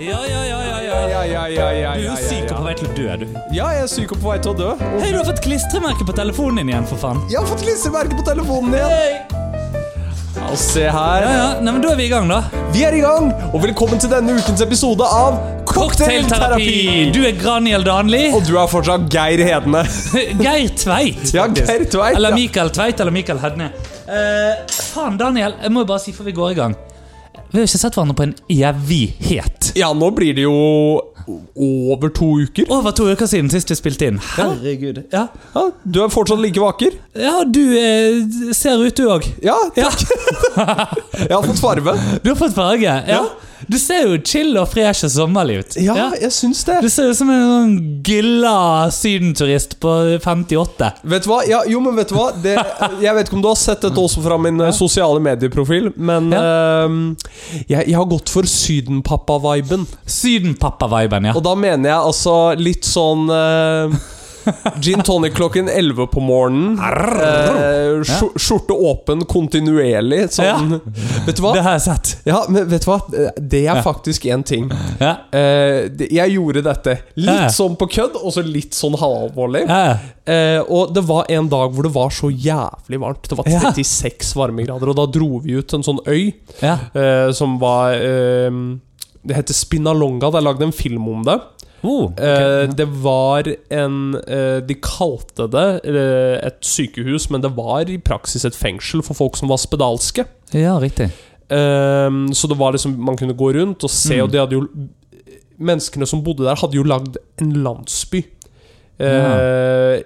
Ja, ja, ja, ja, ja. Ja, ja, ja, ja, Du er ja, jo ja, syk og ja. på vei til å dø, du. ja, jeg er syk og på vei til å dø. Og Hei, du har fått klistremerke på telefonen din igjen, for faen. jeg har fått klissemerke på telefonen igjen. Hei. Og se her. Ja, ja. Nei, men da er vi i gang, da. Vi er i gang, og velkommen til denne ukens episode av Cocktailterapi! Cocktailterapi. Du er Graniel Danli. Og du er fortsatt Geir Hedene. Geir Tveit. Ja, faktisk. Geir Tveit, Eller ja. Mikael Tveit eller Mikael Hedne. Eh, faen, Daniel. Jeg må jo bare si før vi går i gang. Vi har jo ikke sett hverandre på en evighet. Ja, nå blir det jo over to uker. Over to uker siden sist vi spilte inn. Herregud. Ja, Ja, du er fortsatt like vaker. ja du eh, ser ut, du òg. Ja, Ja. jeg har fått farve. Du har fått farge. Ja. Du ser jo chill og fresh og sommerlig ut. Ja, jeg syns det. Du ser ut som en sånn glad sydenturist på 58. Vet du hva? Ja, jo, men vet du hva? Det, jeg vet ikke om du har sett dette også fra min eh, sosiale medieprofil, men ehm, jeg, jeg har gått for Sydenpappa-viben. Sydenpappa-viben, ja. Og da mener jeg altså litt sånn eh, Gin tonic klokken 11 på morgenen. Eh, skjor- skjorte åpen kontinuerlig. Sånn. Vet du hva? Det har jeg sett. Ja, men vet du hva? Det er faktisk én ting. Ja. Eh, det- jeg gjorde dette Ja. litt sånn på kødd, og så litt sånn halvvolley. Ja. Eh, og det var en dag hvor det var så jævlig varmt. Det var Ja. 36 varmegrader, og da dro vi ut til en sånn øy Ja. eh, som var eh, Det heter Spinalonga. Det er lagd en film om det. Oh. Eh, Det var en eh, De kalte det eh, et sykehus, men det var i praksis et fengsel for folk som var spedalske. ja, riktig. Ehm, så det var liksom man kunne gå rundt og se, Mm. og de hadde jo Menneskene som bodde der, hadde jo lagd en landsby. Eh,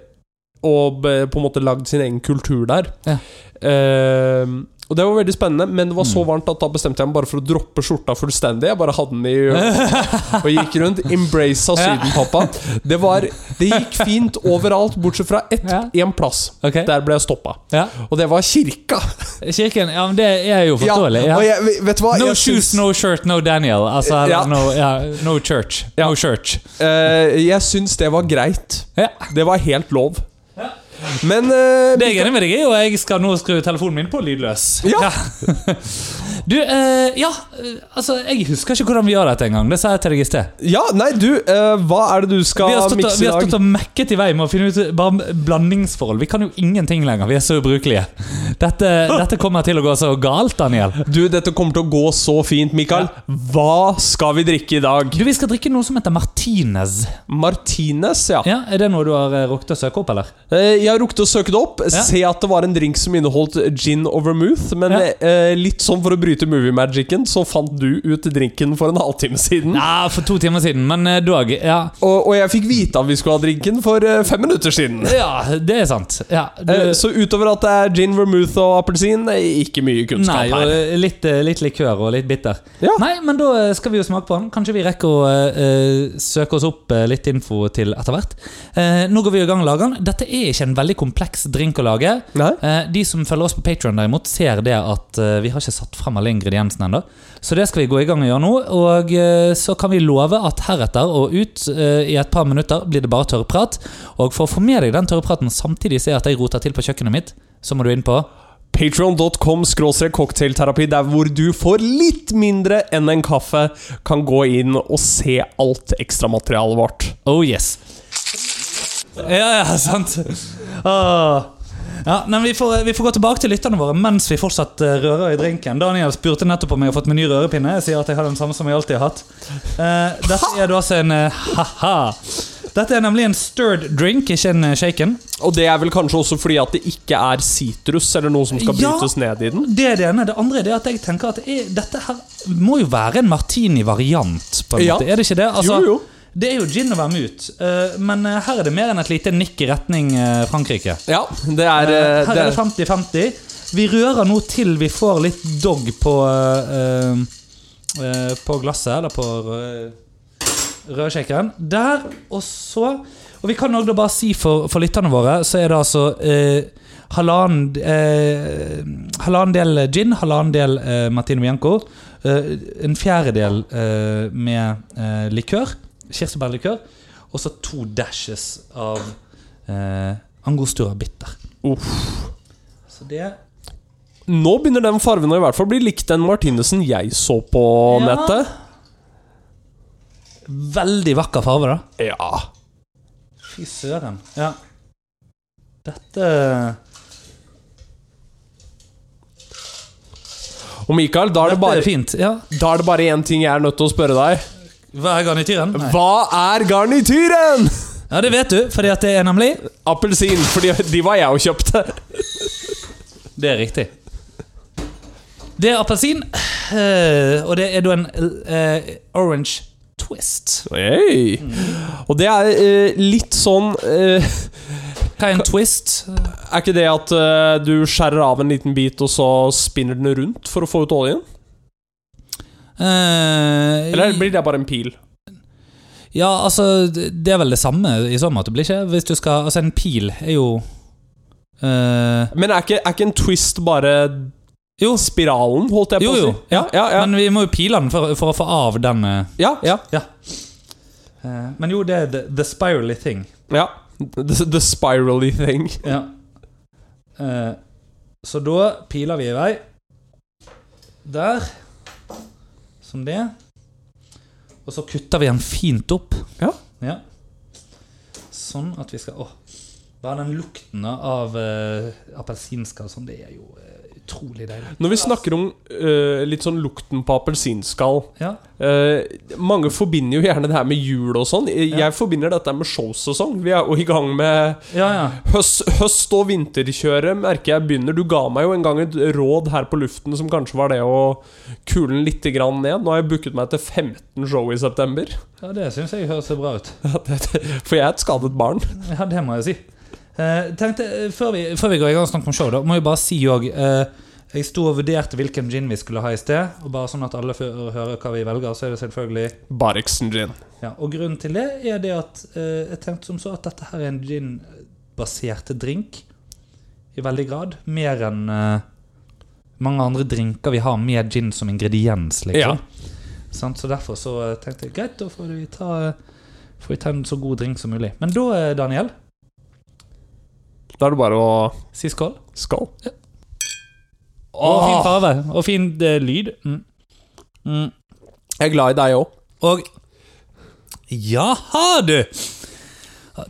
Og be- på en måte lagd sin egen kultur der. Ja. Ehm, og det var veldig spennende, men det var Mm. så varmt at da bestemte jeg meg bare for å droppe skjorta fullstendig. Jeg bare hadde den i og gikk rundt. Embracea Ja. Syden, pappa. Det, var, det gikk fint overalt, bortsett fra ett- Ja. én plass. Ok. Der ble jeg stoppa. Ja. Og det var kirka. Kirken, ja, men det er jo Ja, forståelig. Ja. og jeg, vet du hva? No Jeg shoes, syns- no shirt, no Daniel. Altså, eller Ja. no, ja, no church. Ja. No church. Eh, jeg syns det var greit. Ja. Det var helt lov. Men eh, Det jeg er enig med deg i, og jeg skal nå skru telefonen min på lydløs. Ja. Du, eh, ja, eh, altså, jeg husker ikke hvordan vi gjør dette engang. Det sa jeg til deg i sted. Ja, nei, du, eh, hva er det du Vi skal har stått, og- mikse vi i har dag? stått og mekket i vei med å finne ut bare blandingsforhold. Vi kan jo ingenting lenger. Vi er så ubrukelige. Dette, dette kommer til å gå så galt, Daniel. Du, dette kommer til å gå så fint, Mikael. Hva skal vi drikke i dag? Du, Vi skal drikke noe som heter Martinez. Martinez, ja. Ja, Er det noe du har eh, rukket å søke opp, eller? Eh, Jeg har rukket å søke det opp. Ja. Se at det var en drink som inneholdt gin og vermouth. Men Ja. eh, litt sånn for å bryte moviemagicen, så fant du ut drinken for en halvtime siden. Nei, for to timer siden, men eh, dog. Ja, Og, og jeg fikk vite at vi skulle ha drinken for eh, fem minutter siden. ja det er sant. Ja, du, Eh, Så utover at det er gin, vermouth og appelsin, eh, ikke mye kunnskap nei, og her. eh, litt, eh, litt likør og litt bitter. Ja. Nei, men da eh, skal vi jo smake på den. Kanskje vi rekker å eh, eh, søke oss opp eh, litt info til etter hvert. Eh, nå går vi i gang og lager den. Dette er ikke en veldig kompleks drink å lage. Nei? Eh, De som følger oss på Patreon derimot, ser det at eh, vi har ikke satt frem alle ingrediensene ennå. Så det skal vi gå i gang og gjøre nå. Og eh, så kan vi love at heretter og ut eh, i et par minutter blir det bare tørrprat. Og for å få med deg den tørrpraten samtidig se at jeg roter til på kjøkkenet mitt, så må du inn på Patreon.com cocktailterapi, der hvor du for litt mindre enn en kaffe kan gå inn og se alt ekstramaterialet vårt. Oh yes. Ja, ja, sant. Åh. Ja, nei, men vi, får, vi får gå tilbake til lytterne våre mens vi fortsatt eh, rører i drinken. Daniel spurte nettopp om jeg har fått min ny rørepinne. Jeg sier at jeg har den samme som jeg alltid har hatt. Eh, dette er da altså en eh, ha-ha. Dette er nemlig en stirred drink, ikke en eh, shaken. Og det er vel kanskje også fordi at det ikke er sitrus eller noe som skal Ja. brytes ned i den? Det er det ene. Det andre er det at jeg tenker at det er, dette her må jo være en martini-variant, på en Ja. måte. Er det ikke det? Altså, Jo, jo. Det er jo gin og vermouth, eh, men eh, her er det mer enn et lite nikk i retning eh, Frankrike. Ja, det er, eh, Eh, Her det er er det 50-50. Vi rører nå til vi får litt dog på eh, eh, På glasset, eller på rø- rødkjekeren. Der, og så Og vi kan også da bare si for, for lytterne våre, så er det altså eh, halvannen eh, Halvannen del gin, halvannen del eh, Martino Bianco. eh, en fjerdedel eh, med eh, likør. Kirsebærlikør. Og så to dashes av eh, angostura bitter. Så det Nå begynner den fargen å i hvert fall bli lik den Martinussen jeg så på Ja. nettet. Veldig vakker farge, da. Ja. Fy søren. Ja. Dette Og Mikael, da er Dette det er bare, fint. Ja. da er det bare én ting jeg er nødt til å spørre deg. Hva er garnityren? Nei. Hva er garnityren? Ja, det vet du, fordi at det er nemlig Appelsin, for de, de var jeg og kjøpte. Det er riktig. Det er appelsin, eh, og det er da en eh, orange twist. Hey. Og det er eh, litt sånn eh, Hva er en twist? Er ikke det at eh, du skjærer av en liten bit, og så spinner den rundt for å få ut oljen? Eh, Eller blir det bare en pil? Ja, altså, det er vel det samme i så måte, blir det ikke? Hvis du skal Altså, en pil er jo eh, Men er ikke, er ikke en twist bare Jo. spiralen, holdt jeg på Jo, å jo. si? Ja, ja, ja. Men vi må jo pile den for, for å få av den eh. ja, ja, Eh, Men jo, det er the, the spirally thing. ja. The, the spirally thing. Ja. Eh, så da piler vi i vei. Der. Som det. Og så kutter vi den fint opp. Ja. Sånn at vi skal Åh. Bare den lukten av uh, appelsinskall sånn, det er jo eh, utrolig deilig. Når vi snakker om eh, litt sånn lukten på appelsinskall Ja. eh, Mange forbinder jo gjerne det her med jul og sånn. Jeg Ja. forbinder dette med showsesong. Vi er jo i gang med ja, ja. Høst, høst og vinterkjøret merker jeg begynner. Du ga meg jo en gang et råd her på luften som kanskje var det å kule den litt grann ned. Nå har jeg booket meg til 15 show i september. ja det syns jeg høres bra ut. For jeg er et skadet barn. Ja, det må jeg si. Eh, tenkte, eh, før, vi, før vi går i gang og snakker om show, da, må jeg bare si òg Jeg sto og vurderte hvilken gin vi skulle ha i sted. Og bare sånn at alle får høre hva vi velger, så er det selvfølgelig Barriksen gin. ja, Og grunnen til det er det at eh, jeg tenkte som så at dette her er en ginbasert drink i veldig grad. Mer enn eh, mange andre drinker vi har med gin som ingrediens, Ja. liksom. Sant? Så derfor så eh, tenkte jeg greit, da får vi ta, eh, får vi ta en så god drink som mulig. Men da, eh, Daniel, Da er det bare å si skål. Skål. Og fin Åh, farve. Og fin eh, lyd. Mm. Mm. jeg er glad i deg òg. Og Jaha, du!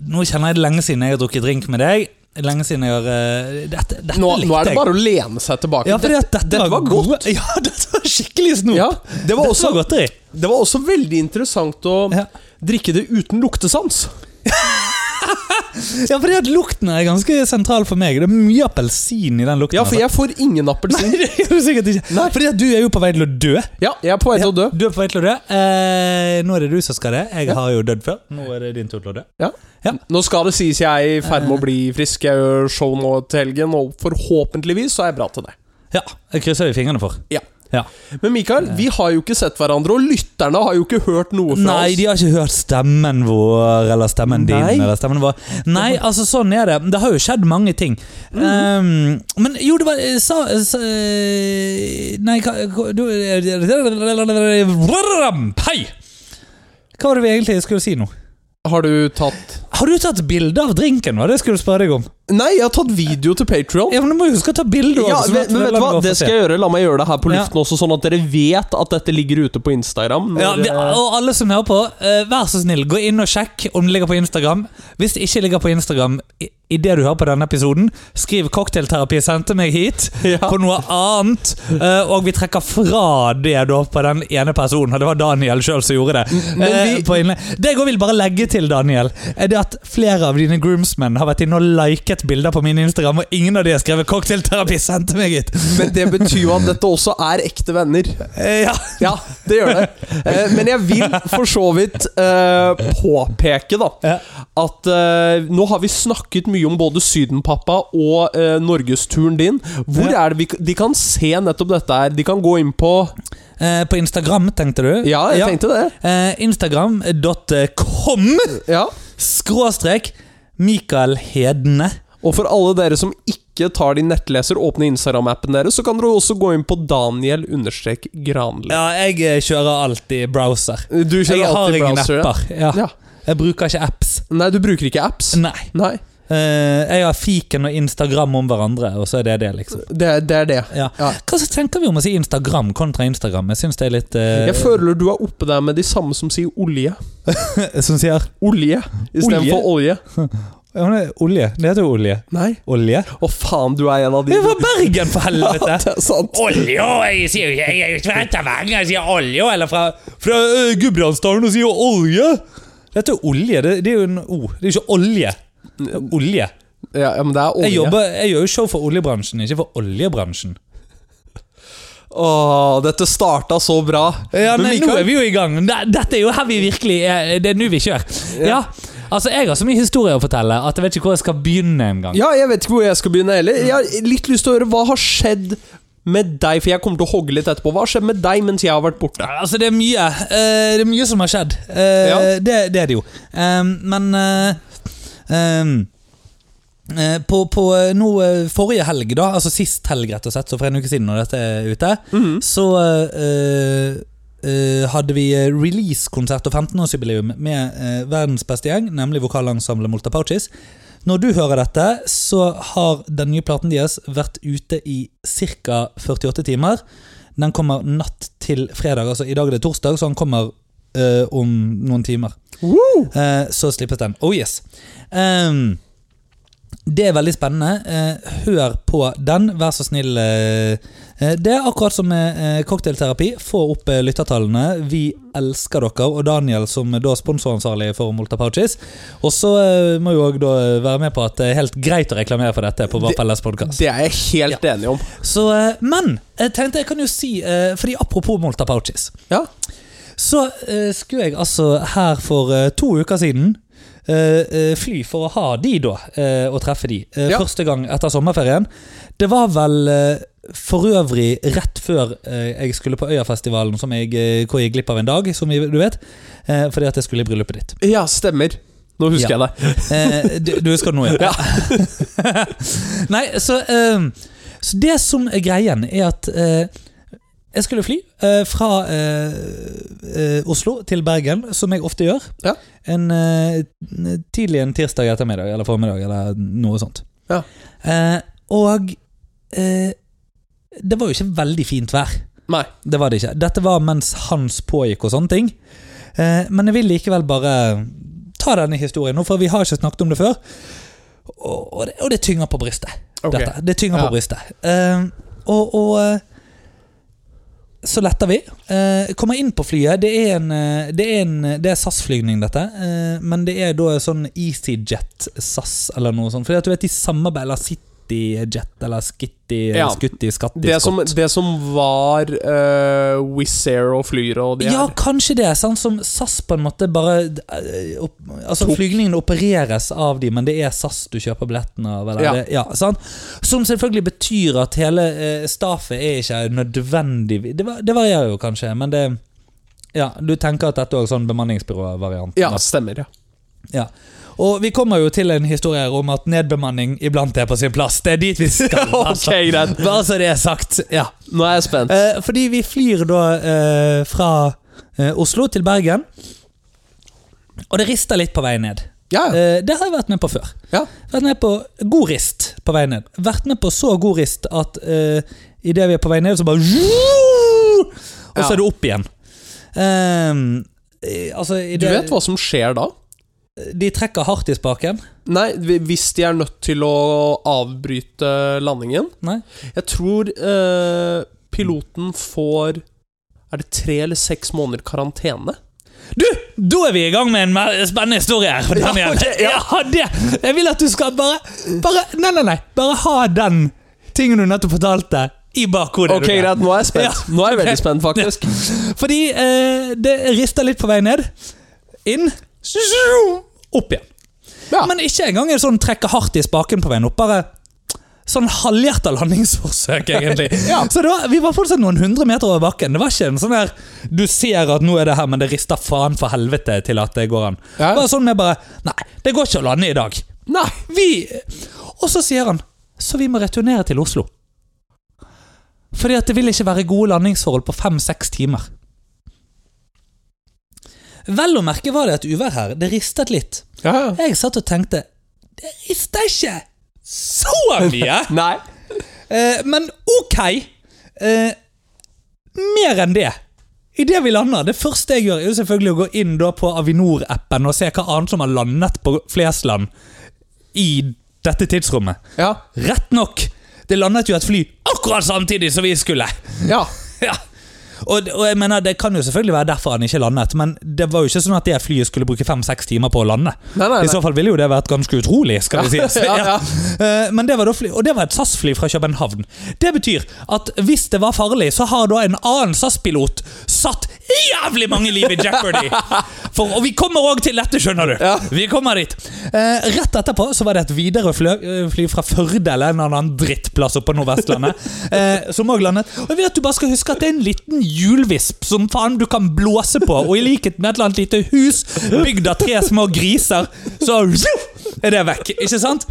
Nå kjenner jeg det lenge siden jeg har drukket drink med deg. Lenge siden jeg har eh, Dette, dette Nå, nå er det jeg. bare å lene seg tilbake. ja, fordi at dette, dette var godt. gode- Ja, dette var skikkelig snop. Ja, det, var dette også, var godteri. det var også veldig interessant å Ja. drikke det uten luktesans. Ja, fordi at lukten er ganske sentral for meg. Det er mye appelsin i den lukten. Ja, for jeg får ingen appelsin. altså. Nei, det gjør du sikkert ikke. Nei. Fordi at du er jo på vei til å dø. Ja, jeg er på vei til å dø. Du er på vei til å dø. Eh, nå er det du som skal det. Jeg Ja. har jo dødd før. Nå er det din tur til å dø. Ja. Ja. Eh. Nå skal det sies jeg er i ferd med å bli frisk. Jeg gjør show nå til helgen, og forhåpentligvis så er jeg bra til det. Ja, det krysser vi fingrene for. Ja. Ja. Men Mikael, vi har jo ikke sett hverandre, og lytterne har jo ikke hørt noe fra Nei, de oss. har ikke hørt stemmen vår, eller stemmen din, Nei. eller stemmen vår. Nei, altså sånn er det. Det har jo skjedd mange ting. Mhm. Ehm, men jo, det var sa, sa eh, Nei, hva hva- du, Hei! Hva var det vi egentlig skulle si nå? Har du tatt Har du tatt bilde av drinken? Var det jeg skulle spørre deg om? Nei, jeg har tatt video til Patrion. Ja, men Du må jo huske å ta bilde. Ja, også, sånn men, at men det vet lar du hva, meg få det se. skal jeg gjøre. La meg gjøre det her på Ja. luften også, sånn at dere vet at dette ligger ute på Instagram. når, Ja, vi, eh, og alle som hører på, eh, vær så snill, gå inn og sjekk om det ligger på Instagram. Hvis det ikke ligger på Instagram i, i det du hører på denne episoden, skriv 'cocktailterapi sendte meg hit' Ja. på noe annet. eh, og vi trekker fra det da på den ene personen, og det var Daniel sjøl som gjorde det. Mm, men eh, vi- på innle- det jeg også vil bare legge til, Daniel, er det at flere av dine groomsmen har vært inne og liket bilder på min Instagram, og ingen av de har skrevet 'cocktailterapi sendte meg hit'. Men det betyr jo at dette også er ekte venner. Eh, ja. Ja, det gjør det. Eh, Men jeg vil for så vidt eh, påpeke da Ja. at eh, nå har vi snakket mye om både Sydenpappa og eh, norgesturen din. Hvor Ja. er det vi, de kan se nettopp dette her? De kan gå inn på Eh, på Instagram, tenkte du? Ja, jeg tenkte det. Eh, Instagram.com Ja. skråstrek Mikael Hedne. Og for alle dere som ikke tar de nettleser, åpne Instagram-appen deres, så kan dere også gå inn på Daniel-Granli. Ja, jeg eh, kjører alltid browser. Du kjører Jeg har alltid ingen browser, ja. apper. Ja. Ja. Jeg bruker ikke apps. Nei, du bruker ikke apps? Nei. Nei. Eh, jeg har fiken og Instagram om hverandre, og så er det det, liksom. Det, er- det er det. Ja. Ja. Hva så tenker vi om å si Instagram kontra Instagram? Jeg syns det er litt eh, Jeg føler du er oppe der med de samme som sier olje. Som sier Olje Olje? istedenfor olje. ja, men det er Olje. Det heter jo olje. Nei. Olje? Å faen, du er en av de. Det er fra Bergen, for helvete! det er sant. Olja! Jeg sier jo jeg er jo fra Stavanger, jeg sier olja. Eller fra, fra eh, Gudbrandsdalen og sier olje. Dette er olje. Det, det er jo en O. det er ikke olje. Det er Olje. Ja, ja, men det er olje. Jeg, jobber, jeg gjør jo show for oljebransjen, ikke for oljebransjen. Åh, dette starta så bra. Ja, men nei, nå Mikael- er vi jo i gang. Ne- Dette er jo her vi virkelig er. Det er nå vi kjører. Ja. Altså, jeg har så mye historier å fortelle at jeg vet ikke hvor jeg skal begynne engang. Ja, jeg vet ikke hvor jeg skal begynne heller. Jeg har litt lyst til å høre hva har skjedd med deg, for jeg kommer til å hogge litt etterpå. Hva har skjedd med deg mens jeg har vært borte? Altså, det er mye. Eh, det er mye som har skjedd. Eh, Ja. det, det er det jo. Ehm, men eh, ehm, eh, på, på eh, nå eh, forrige helg, da, altså sist helg rett og slett, så for en uke siden når dette er ute, så eh, eh, hadde vi eh, release-konsert og 15-årsjubileum med eh, verdens beste gjeng, nemlig vokalensemblet Molta Pouches. Når du hører dette, så har den nye platen deres vært ute i ca. 48 timer. Den kommer natt til fredag, altså i dag er det torsdag, så den kommer eh, om noen timer. Eh, så slippes den. Oh yes. Ehm, det er veldig spennende. Eh, hør på den, vær så snill. eh. Eh, det er akkurat som med eh, cocktailterapi. Få opp eh, lyttertallene. Vi elsker dere, og Daniel som er da sponsoransvarlig for Molta Pouches. Og så eh, må jo òg da være med på at det er helt greit å reklamere for dette på vår Det- felles podkast. Det er jeg helt enig om. Så, eh, men jeg tenkte jeg kan jo si, eh, fordi apropos Molta Pouches, Ja. så eh, skulle jeg altså her for eh, to uker siden eh, eh, fly for å ha de da, eh, og treffe de. eh, Ja. Første gang etter sommerferien. Det var vel eh, for øvrig rett før eh, jeg skulle på Øyafestivalen, som jeg, eh, hvor jeg gikk glipp av en dag, som vi- du vet, eh, fordi at jeg skulle i bryllupet ditt. ja, stemmer. Nå husker Ja. jeg deg. Eh, du, du husker det nå, ja? Ja. Nei, så, eh, så det som er greien, er at eh, jeg skulle fly eh, fra eh, eh, Oslo til Bergen, som jeg ofte gjør. Ja. En, eh, tidlig en tirsdag ettermiddag eller formiddag eller noe sånt. Ja. Eh, og eh, det var jo ikke veldig fint vær. Nei. Det var det ikke. Dette var mens Hans pågikk og sånne ting. Eh, men jeg vil likevel bare ta denne historien nå, for vi har ikke snakket om det før. Og, og, det, og det tynger på brystet. Ok. Dette. Det tynger Ja. på brystet. Eh, og og eh, så letter vi. Eh, kommer inn på flyet. Det er en, eh, det er en Det er SAS-flygning, dette. Eh, men det er da sånn EasyJet SAS eller noe sånt. Fordi at du vet de samarbeider eller CityJet eller Skitty Ja. Skutty Skatti Det som, Skott. det som var uh, Wizz Air og Flyr og de Ja, her. kanskje det. Sånn som SAS på en måte bare eh, opp, Altså Tok. Flygningene opereres av de, men det er SAS du kjøper billetten av. Eller, Ja. det, ja, sant? Som selvfølgelig betyr at hele eh, staffet er ikke nødvendig Det, var- det varierer jo kanskje, men det ja, Du tenker at dette er sånn bemanningsbyråvariant? Ja, stemmer. ja Ja. Og vi kommer jo til en historie her om at nedbemanning iblant er på sin plass. Det er dit vi skal. Ok, altså. greit. Bare så det er sagt. Ja. Nå er jeg spent. Eh, fordi vi flyr da eh, fra eh, Oslo til Bergen. Og det rister litt på vei ned. Ja, ja. Eh, det har jeg vært med på før. ja. Vært med på god rist på vei ned. Vært med på så god rist at eh, idet vi er på vei ned, så bare Og så Ja. er det opp igjen. Eh, i- altså, i Du det, vet hva som skjer da? De trekker hardt i spaken. Nei, hvis de er nødt til å avbryte landingen Nei? Jeg tror eh, piloten får Er det tre eller seks måneder karantene? Du, da er vi i gang med en mer spennende historie her. Daniel. ok, ja. ja, det. Jeg vil at du skal bare, bare Nei, nei, nei. Bare ha den tingen du nettopp fortalte, i bakhodet. Ok, du der. greit. Nå er jeg spent. Ja. Nå er jeg veldig spent, faktisk. Fordi eh, det rister litt på vei ned. Inn. Opp igjen. Ja. Men ikke engang en sånn trekke hardt i spaken på veien opp. Bare sånn halvhjerta landingsforsøk, egentlig. Ja. Så det var, vi var fortsatt noen hundre meter over bakken. Det var ikke en sånn der Du ser at nå er det her, men det rister faen for helvete til at det går an. Ja. Bare sånn med bare Nei, det går ikke å lande i dag. Nei! Vi Og så sier han Så vi må returnere til Oslo. Fordi at det vil ikke være gode landingsforhold på fem-seks timer. Vel å merke var det et uvær her. Det ristet litt. Ja, ja. Jeg satt og tenkte Det rister ikke så mye, Nei. Eh, men ok. Eh, mer enn det. I det vi lander, Det første jeg gjør, er jo selvfølgelig å gå inn da på Avinor-appen og se hva annet som har landet på Flesland i dette tidsrommet. Ja. Rett nok, det landet jo et fly akkurat samtidig som vi skulle. ja. Ja. Og, og jeg mener, Det kan jo selvfølgelig være derfor han ikke landet, men det var jo ikke sånn at det flyet skulle bruke fem-seks timer på å lande. Nei, nei, I så nei. fall ville jo det vært ganske utrolig. skal det Ja, sies. ja, ja. Eh, Men det var da fly, Og det var et SAS-fly fra København. Det betyr at hvis det var farlig, så har da en annen SAS-pilot satt jævlig mange liv i jeopardy! For, og vi kommer òg til dette, skjønner du. Ja. Vi kommer dit. Eh, rett etterpå så var det et Widerøe-fly fly fra Førde eller en annen drittplass oppe på Nordvestlandet. eh, som også landet. Og jeg vil at du bare skal huske at det er en liten hjulvisp som faen du kan blåse på. Og i likhet med et eller annet lite hus bygd av tre små griser, så er det vekk. Ikke sant?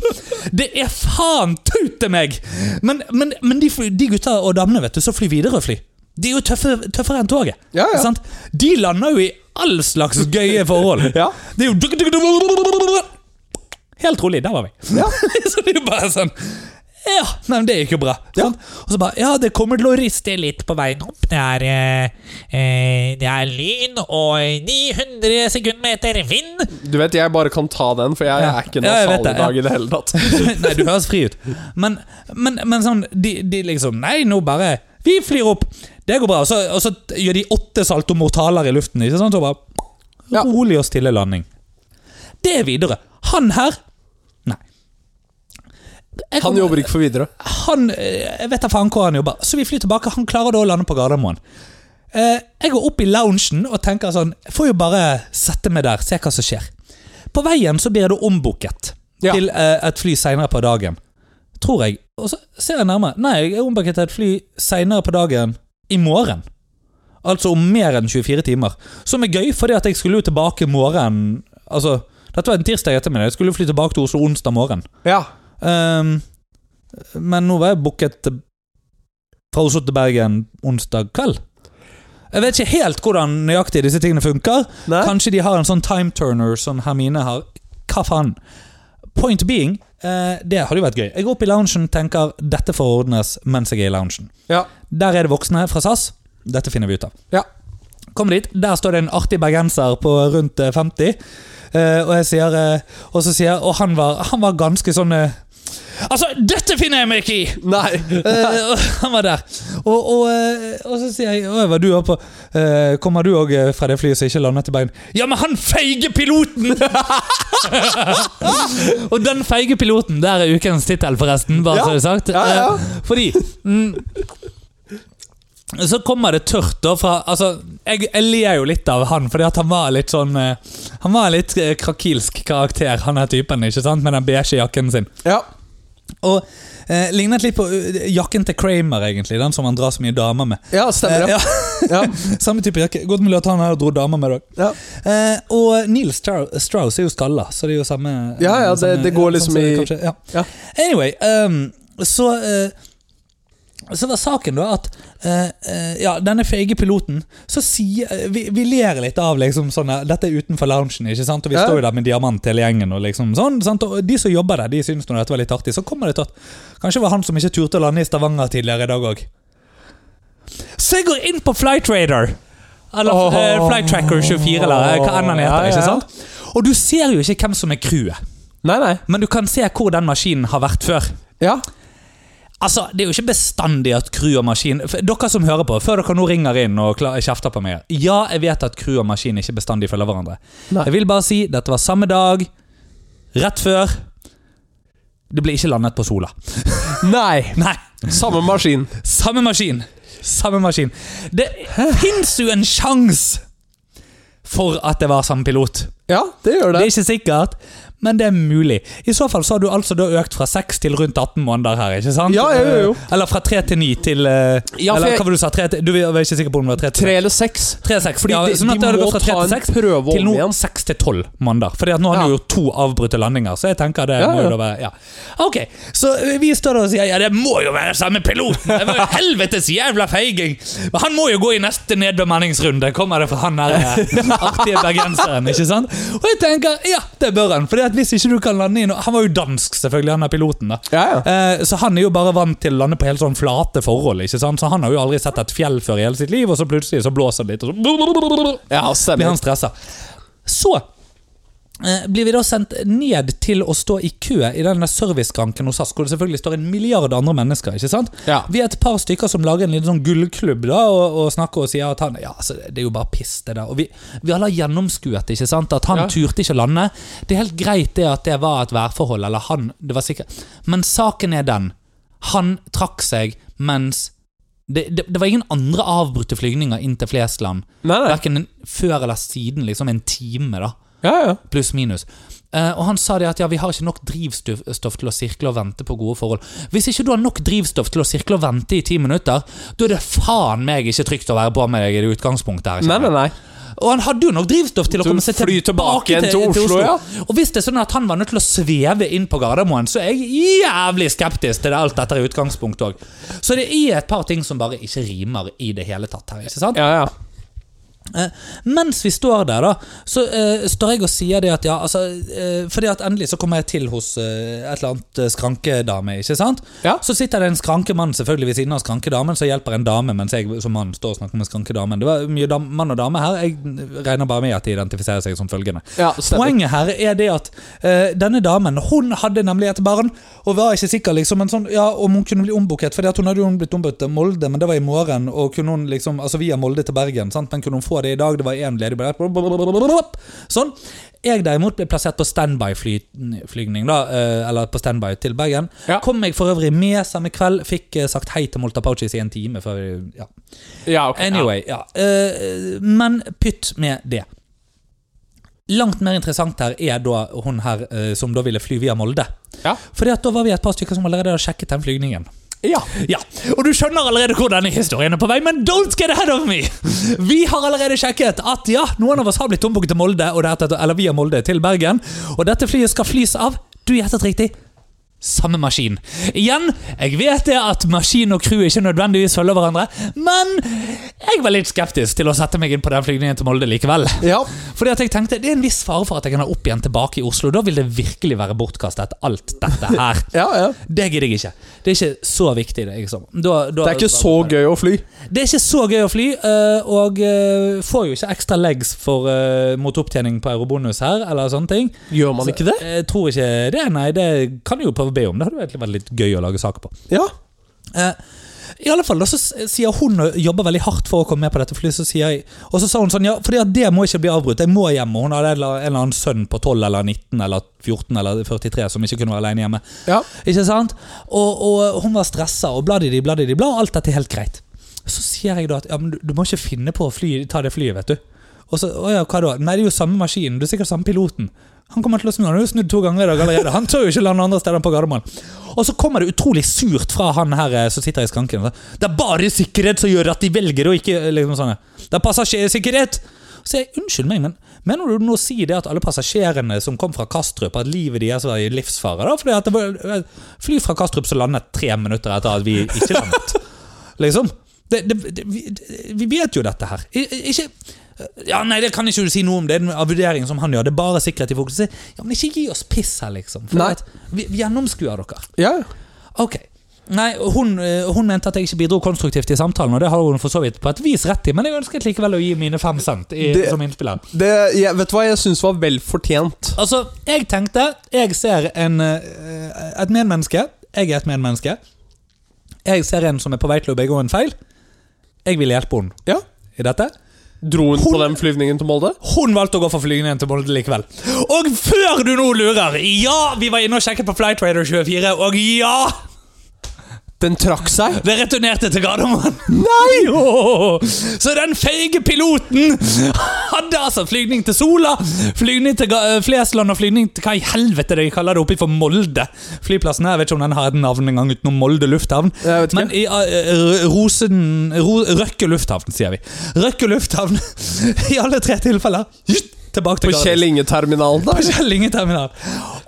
Det er faen tute meg! Men, men, men de, fly- de gutta og damene vet du, som flyr Widerøe-fly, de er jo tøffe, tøffere enn toget. Ja, ja. Sant? De lander jo i all slags gøye forhold. Ja. Det er jo duk, duk, duk. Helt rolig, der var vi. Ja. så det er jo bare sånn Ja, nei, men det gikk jo bra. sant? Og så bare Ja, det kommer til å riste litt på veien opp. Det er, eh, eh, det er lyn og 900 sekundmeter vind. Du vet, jeg bare kan ta den, for jeg Ja. er ikke Ja, jeg nasal vet det, i ja. dag i det hele tatt. nei, du høres fri ut. Men, men, men sånn de, de liksom Nei, nå bare Vi flyr opp! Det går bra. Og så, og så gjør de åtte saltomortaler i luften. Ikke sant? Og bare Ja. Rolig og stille landing. Det er videre. Han her Nei. Jeg Han kommer- jobber ikke for Widerøe. han, eh, jeg vet da faen hvor han jobber. Så vi flyr tilbake. Han klarer da å lande på Gardermoen. Eh, Jeg går opp i loungen og tenker sånn Jeg får jo bare sette meg der, se hva som skjer. På veien så blir jeg da ombooket Ja. til eh, et fly seinere på dagen. Tror jeg. Og så ser jeg nærmere. Nei, jeg er ombooket til et fly seinere på dagen i morgen. Altså om mer enn 24 timer. Som er gøy, fordi at jeg skulle jo tilbake morgen Altså, dette var en tirsdag ettermiddag. Jeg skulle jo fly tilbake til Oslo onsdag morgen. Ja. Ehm, men nå var jeg booket til- fra Oslo til Bergen onsdag kveld. Jeg vet ikke helt hvordan nøyaktig disse tingene funker. Nei. Kanskje de har en sånn time turner som Hermine har. Hva faen? Point being, eh, det hadde jo vært gøy. Jeg går opp i loungen tenker dette får ordnes mens jeg er i loungen. Ja. Der er det voksne fra SAS. Dette finner vi ut av. Ja. Kommer dit, der står det en artig bergenser på rundt eh, 50. eh, og jeg sier eh, Og så sier Og han var, han var ganske sånn eh, Altså, dette finner jeg meg ikke i! Nei. Eh, og han var der. Og, og, eh, og så sier jeg Hva var du oppe på? Eh, kommer du òg fra det flyet som ikke landet i Bergen? Ja, men han feige piloten! og den feige piloten, der er ukens tittel, forresten. Bare Ja. så det er sagt. Ja, ja. Eh, fordi mm, Så kommer det tørt da fra Altså, jeg, jeg ler jo litt av han, fordi at han var litt sånn eh, Han var litt eh, krakilsk karakter, han her typen, ikke sant? Med den beige jakken sin. Ja. Og eh, lignet litt på eh, jakken til Kramer, egentlig. Den som han drar så mye damer med. ja, Eh, stemmer det. ja, Ja. Samme type jakke. Godt mulig at han her dro damer med òg. Ja. Eh, og Neil Strau- Strauss er jo skalla, så det er jo samme Ja, ja, det- samme- det går ja, liksom sånn som i- kanskje- ja. Ja. Anyway, ehm, så eh, så var saken da at eh, eh, Ja, denne feige piloten Så sier eh, vi, vi ler litt av liksom sånne Dette er utenfor loungen, ikke sant? Og vi Ja. står jo der med diamant hele gjengen og liksom sånn sant? Og de som jobber der, de syns nå dette var litt artig Så kommer det til at Kanskje det var han som ikke turte å lande i Stavanger tidligere i dag òg. Så jeg går inn på Flight Radar. Eller Åh. eh, Flight Tracker 24, eller hva enn han heter. Ja, ja, ikke ja. sant? Og du ser jo ikke hvem som er crewet, Nei, nei. men du kan se hvor den maskinen har vært før. Ja. Altså, Det er jo ikke bestandig at crew og maskin for Dere som hører på, før dere nå ringer inn og kla- kjefter på meg Ja, jeg vet at crew og maskin ikke bestandig følger hverandre. Nei. Jeg vil bare si, dette var samme dag, rett før. Det ble ikke landet på Sola. Nei. Nei, Samme maskin. samme maskin. Samme maskin. Det fins jo en sjanse for at det var samme pilot. Ja, det gjør Det det. er ikke sikkert, men det er mulig. I så fall så har du altså da økt fra 6 til rundt 18 måneder her, ikke sant? Ja, jo, jo, jo. Eller fra 3 til 9 til eh, Ja, for Eller jeg- hva var det du sa? 3 til, du var ikke sikker på om det var 3 til Tre eller seks. 3-6. Fordi ja, de, sånn at det de hadde må gått fra ta 3 til en 6 prøve til om nå igjen. 6 til 12 måneder. Fordi at nå har Ja. du jo to avbrutte landinger, så jeg tenker det Ja, må ja. jo da være ja. Ok, så vi står der og sier ja, det må jo være samme piloten! Det var jo helvetes jævla feiging! Men han må jo gå i neste nedbemanningsrunde, kommer det fra han der eh, artige bergenseren, ikke sant? Og jeg tenker ja, det bør han, for at hvis ikke du kan lande i noe Han var jo dansk, selvfølgelig, han er piloten. da Ja, ja. Eh, Så han er jo bare vant til å lande på helt sånn flate forhold. ikke sant? Så Han har jo aldri sett et fjell før i hele sitt liv, og så plutselig så blåser det litt, og så ja blir stemmer. han stressa. Så eh, blir vi da sendt ned til å stå i kø i denne serviceskranken hos SAS, hvor det selvfølgelig står en milliard andre mennesker. ikke sant? Ja. Vi er et par stykker som lager en liten sånn gullklubb da, og, og snakker og sier at han Ja, altså, det er jo bare piss, det der. Og vi, vi alle har gjennomskuet ikke sant? at han Ja. turte ikke å lande. Det er helt greit det at det var et værforhold, eller han det var sikkert. Men saken er den. Han trakk seg mens det, det, det var ingen andre avbrutte flygninger inn til Flesland. Nei, nei. Verken før eller siden, liksom en time, da. Ja, ja. Pluss minus. Eh, og han sa det at ja, vi har ikke nok drivstoff til å sirkle og vente på gode forhold. Hvis ikke du har nok drivstoff til å sirkle og vente i ti minutter, da er det faen meg ikke trygt å være på med deg i det utgangspunktet her. Nei, kjenner jeg. nei, nei. Og han hadde jo nok drivstoff til å Du komme seg flyr tilbake igjen til Oslo, Og hvis det er sånn at han var nødt til å sveve inn på Gardermoen, så er jeg jævlig skeptisk til alt dette i utgangspunktet òg. Så det er et par ting som bare ikke rimer i det hele tatt her, ikke sant? Ja, ja. Eh, mens vi står der, da, så eh, står jeg og sier det at ja, altså eh, Fordi at endelig så kommer jeg til hos eh, et eller annet eh, skrankedame, ikke sant? Ja. Så sitter det en skrankemann selvfølgelig ved siden av skrankedamen, så hjelper en dame mens jeg som mann står og snakker med skrankedamen. Det var mye dam mann og dame her. Jeg regner bare med at de identifiserer seg som følgende. Ja, stemmer. Poenget her er det at eh, denne damen Hun hadde nemlig et barn, og var ikke sikker liksom, men sånn, ja, om hun kunne bli ombooket. Fordi at hun hadde jo blitt ombooket til Molde, men det var i morgen. Og kunne hun liksom, altså Via Molde til Bergen, sant? men kunne hun få det i dag? Det var én ledig billett. blablabla. Sånn. Jeg derimot ble plassert på standby-flygning, da, eh, eller på standby til Bergen. Ja. Kom meg for øvrig med samme kveld. Fikk eh, sagt hei til Molta Pouches i en time før vi ja. Ja, ok. Anyway, ja. Eh, men pytt med det. Langt mer interessant her er da hun her eh, som da ville fly via Molde. Ja. Fordi at da var vi et par stykker som allerede hadde sjekket den flygningen. Ja. Ja, Og du skjønner allerede hvor denne historien er på vei, men don't get ahead of me! Vi har allerede sjekket at ja, noen av oss har blitt ombooket til Molde, og dette, eller via Molde til Bergen, og dette flyet skal flys av Du gjettet riktig. Samme maskin. Igjen, jeg vet det at maskin og crew ikke nødvendigvis følger hverandre, men jeg var litt skeptisk til å sette meg inn på den flygningen til Molde likevel. Ja. Fordi at jeg tenkte, Det er en viss fare for at jeg kan ha opp igjen tilbake i Oslo. Da vil det virkelig være bortkastet, alt dette her. Ja, ja. Det gidder jeg ikke. Det er ikke så viktig. Det, liksom. Da- da- Det er ikke så gøy å fly. Det er ikke så gøy å fly, eh, og eh, får jo ikke ekstra legs for, eh, mot opptjening på eurobonus her, eller sånne ting. Gjør man ikke det? Jeg tror ikke det, nei. Det kan jeg jo prøve å be om. Det hadde jo egentlig vært litt gøy å lage saker på. Ja. Eh, I alle fall, da så s- sier hun og jobber veldig hardt for å komme med på dette flyet, så sier jeg Og så sa hun sånn, ja, fordi at det må ikke bli avbrutt, jeg må hjem. Og hun hadde en eller en eller annen sønn på 12 eller 19 eller 14 eller 43 som ikke kunne være alene hjemme. Ja. Ikke sant? Og, og hun var stressa og bladidi, bladidi, bla, og alt dette er helt greit. Så sier jeg da at ja, men du, du må ikke finne på å fly, ta det flyet, vet du. Og så, å ja, hva da? Nei, det er jo samme maskinen, du er sikkert samme piloten. Han kommer til å snu, han har jo snudd to ganger i dag allerede. Han tør jo ikke lande andre steder enn på Gardermoen. Og så kommer det utrolig surt fra han her eh, som sitter i skranken. Det er bare sikkerhet som gjør at de velger å ikke eh, liksom sånn. Det er passasjersikkerhet! Så jeg, unnskyld meg, men mener du nå å si det at alle passasjerene som kom fra Kastrup, at livet deres var i livsfare? da? Fordi at det var, eh, fly fra Kastrup som landet tre minutter etter at vi ikke landet. Liksom. Det, det, det, vi, det- vi vet jo dette her. I- i- Ikke ja, Nei, det kan ikke du si noe om. Det er en vurdering som han gjør. Det er bare sikkerhet i fokus. Ja, Men ikke gi oss piss her, liksom. For Nei. at vi, vi gjennomskuer dere. Ja. Ok. Nei, hun, eh, hun mente at jeg ikke bidro konstruktivt i samtalen, og det har hun for så vidt på et vis rett i, men jeg ønsket likevel å gi mine fem cent i, Det- som innspiller. Det, jeg, vet du hva jeg syns var vel fortjent? Altså, jeg tenkte Jeg ser en, eh, et medmenneske. Jeg er et medmenneske. Jeg ser en som er på vei til å begå en feil. Jeg vil hjelpe henne Ja. i dette. Dro hun på Hun- den flyvningen til Molde? Hun valgte å gå for flygningen til Molde likevel. Og før du nå lurer Ja, vi var inne og sjekket på Flightradar 24, og ja! Den trakk seg. Det returnerte til Gardermoen. Nei! Så den feige piloten hadde altså flygning til Sola, flygning til Ga- eh, Flesland og flygning til hva i helvete de kaller det oppe for Molde. Flyplassen her, jeg vet ikke om den har et navn engang utenom Molde lufthavn. Jeg vet ikke. Men i eh, R- Rosen... Ro, Røkke lufthavn, sier vi. Røkke lufthavn i alle tre tilfeller. Tilbake til På Gardermoen. Kjell Inge-terminalen, da? På Kjell Inge terminal.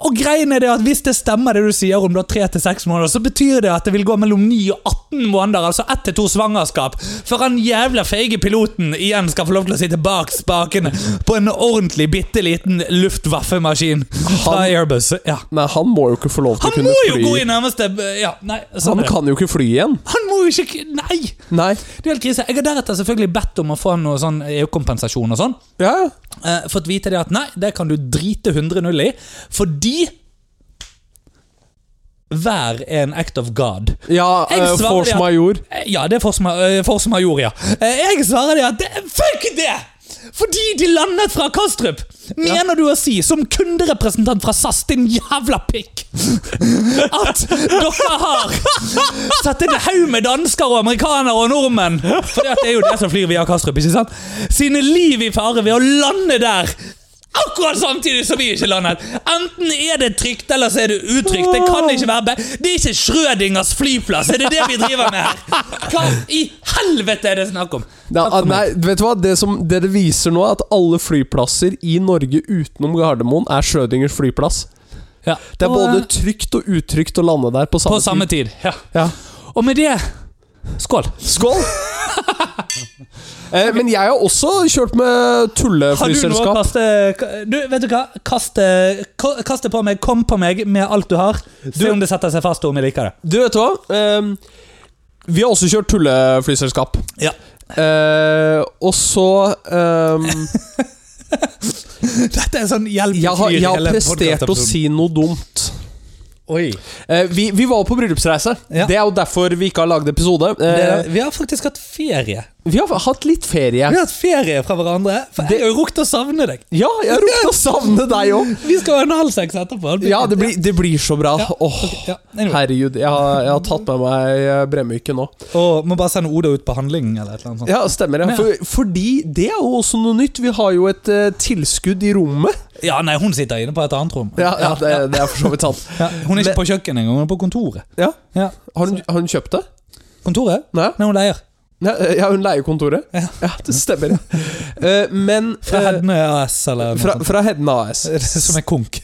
Og greien er det at Hvis det stemmer det du sier om da 3-6 måneder, så betyr det at det vil gå mellom 9 og 18 måneder, altså 1-2 svangerskap, før han jævla feige piloten igjen skal få lov til å sitte bak spakene på en ordentlig bitte liten luftvaffemaskin fra Han- Airbus. Ja. Men han må jo ikke få lov til Han å må kunne jo fly. gå i nærmeste Ja, nei, sånn Han er det. kan jo ikke fly igjen. Han må jo ikke Nei! Nei. Det er helt krise. Jeg har deretter selvfølgelig bedt om å få noe sånn EU-kompensasjon og sånn. Ja, ja. Eh, fått vite det at nei, det kan du drite 100-0 i, fordi Vær er en act of God. ja Jeg eh, svarer force at- major. Eh, Ja, det er force ma- eh, force major, ja. Eh, Jeg svarer det at det, fuck det! Fordi de landet fra Kastrup! Mener du å si, som kunderepresentant fra SAS, din jævla pikk, at dere har satt en haug med dansker og amerikanere og nordmenn For det er jo det som flyr via Kastrup, ikke sant? Sine liv i fare ved å lande der! Akkurat samtidig som vi ikke landet! Enten er det trygt, eller så er det utrygt. Det kan ikke være be Det er ikke Schrødingers flyplass! Er det det vi driver med her? Hva i helvete er det snakk om? Nei, ah, nei, vet du hva? Det, som, det det viser nå, er at alle flyplasser i Norge utenom Gardermoen er Schrødingers flyplass. Ja. Det er Og, både eh, trygt og utrygt å lande der på samme, På samme tid. Ja. tid. Ja. Og med det Skål. Skål! eh, men jeg har også kjørt med Har du noe å tulleflyselskap. kaste du, Vet du hva? Kast det- ko- kast det på meg. Kom på meg med alt du har. Se om det setter seg fast, og om jeg liker det. Du, vet du hva? Ehm, vi har også kjørt tulleflyselskap. Ja. Eh, og så ehm, Dette er sånn hjelp jeg, har, jeg har prestert å si noe dumt. Oi. Eh, vi, vi var på bryllupsreise. Ja. Det er jo derfor vi ikke har lagd episode. Eh, vi har faktisk hatt ferie. vi har hatt litt ferie. Vi har hatt ferie fra hverandre. For jeg har jo rukket å savne deg. Ja, jeg ropte å savne deg òg. Vi skal ha en halv seks etterpå. Ja, det blir, det blir så bra. Ja, Åh, ja, anyway. herregud. Jeg har, jeg har tatt med meg eh, Bremyke nå. Og må bare sende Oda ut på handling eller et eller annet sånt. Ja, stemmer det. For, fordi det er jo også noe nytt. Vi har jo et eh, tilskudd i rommet. Ja, nei, hun sitter inne på et annet rom. Ja, ja, det, det er for så vidt sant. Ja, hun er ikke på kjøkkenet engang, hun er på kontoret. Ja. Ja. Har, hun, har hun kjøpt det? Kontoret? Nei? Nei, hun leier. Nei, eh, Ja, hun leier kontoret? Ja. Ja, det stemmer. Eh, Men Fra eh, Hedne AS, eller noe fra, sånt. fra Hedden AS, Som er konk.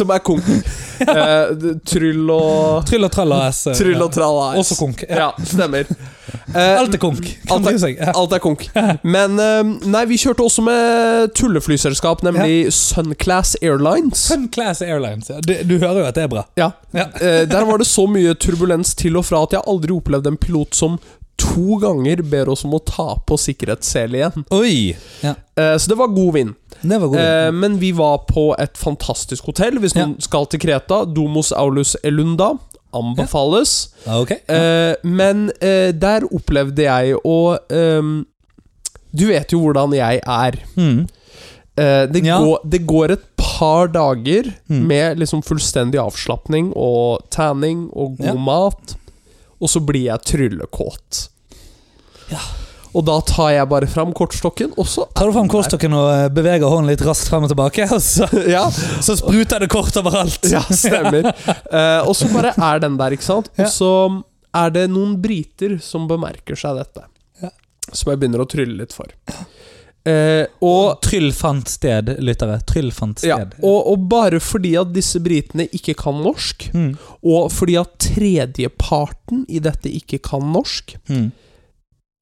som er konk. Eh, Tryll og Tryll og trall AS. eh, Tryll og trall ja. AS. Også konk. Ja. Ja, stemmer. Eh, Alt er konk. Kan Alt bry er, seg. Ja. alt er konk. Men eh, nei, vi kjørte også med tulleflyselskap, nemlig Sunclass Airlines. Fun Class Airlines. ja. Du, du hører jo at det er bra. Ja. Ja. Eh, der var det så mye turbulens til og fra at jeg aldri opplevde en pilot som to ganger ber oss om å ta på sikkerhetssel igjen. Oi! Ja, Eh, så det var god vind. det var god. Eh, men vi var på et fantastisk hotell. Hvis noen skal til Kreta, Domos Aulus Elunda. Anbefales. Ja, ok. Eh, men eh, der opplevde jeg å ehm, Du vet jo hvordan jeg er. Mm. Eh, det, Ja. går, det går et par dager Mm. med liksom fullstendig avslapning og tanning og god Ja. mat, og så blir jeg tryllekåt. Ja. Og da tar jeg bare fram kortstokken, og så Tar du fram kortstokken og eh, beveger hånden litt raskt frem og tilbake, og så, Ja, så spruter det kort overalt? ja stemmer. Eh, og så bare er den der, ikke sant? Ja. Og så er det noen briter som bemerker seg dette, Ja. som jeg begynner å trylle litt for. Eh, og Og Tryll fant sted, lyttere. Tryll fant sted. ja, og, og bare fordi at disse britene ikke kan norsk, Mm. Og fordi at tredjeparten i dette ikke kan norsk, Mm.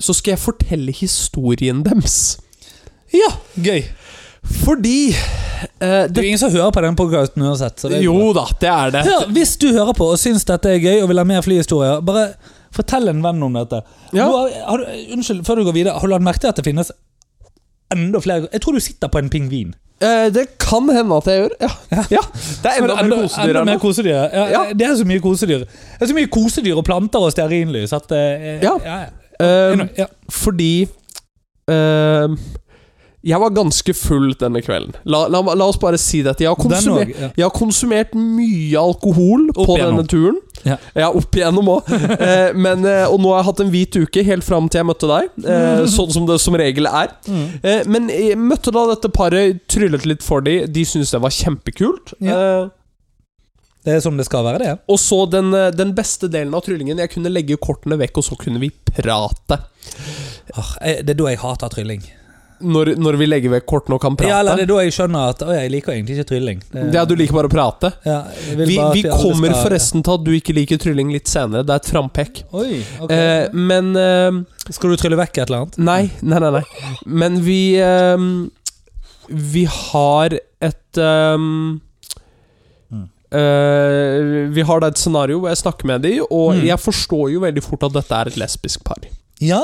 så skal jeg fortelle historien deres. ja, gøy. Fordi eh, Det er det, jo ingen som hører på den podcasten uansett. Så det er Jo da, det er det. Hør, hvis du hører på og syns dette er gøy og vil ha mer flyhistorier, bare fortell en venn om dette. Ja. Du har, har, du- unnskyld, før du går videre, har du lagt merke til at det finnes enda flere Jeg tror du sitter på en pingvin. Eh, det kan hende at jeg gjør. Ja. ja. Det er enda Men mer kosedyr enda her mer nå. kosedyr. Ja, Ja. Det er så mye kosedyr. Det er så mye kosedyr og planter og stearinlys at eh, Ja. ja, ja. Eh, Anyway, ja. fordi eh, Jeg var ganske full denne kvelden. La, la, la oss bare si dette. Jeg har Den konsumert også, ja. Jeg har konsumert mye alkohol på igjennom. denne turen. Ja. opp igjennom òg. Eh, men, eh, og nå har jeg hatt en hvit uke, helt fram til jeg møtte deg. Eh, sånn som det som regel er. Mm. Eh, men jeg møtte da dette paret, tryllet litt for dem. De syntes det var kjempekult. Eh, Det er som det skal være, det. og så den, eh, den beste delen av tryllingen. Jeg kunne legge kortene vekk, og så kunne vi prate. Åh, jeg- det er da jeg hater trylling. Når, når vi legger vekk kortene og kan prate. Ja, eller det er da jeg skjønner at Å, jeg liker egentlig ikke trylling. Det- Ja, du liker bare å prate. ja, Eh, jeg vil Vi, bare at vi alle kommer skal- forresten til at du ikke liker trylling litt senere. Det er et frampekk. Oi, ok. Eh, men eh, Skal du trylle vekk et eller annet? Nei, nei, nei, nei. Men vi ehm, Vi har et ehm, Mm. eh, vi har da et scenario hvor jeg snakker med de og Mm. jeg forstår jo veldig fort at dette er et lesbisk par. Ja!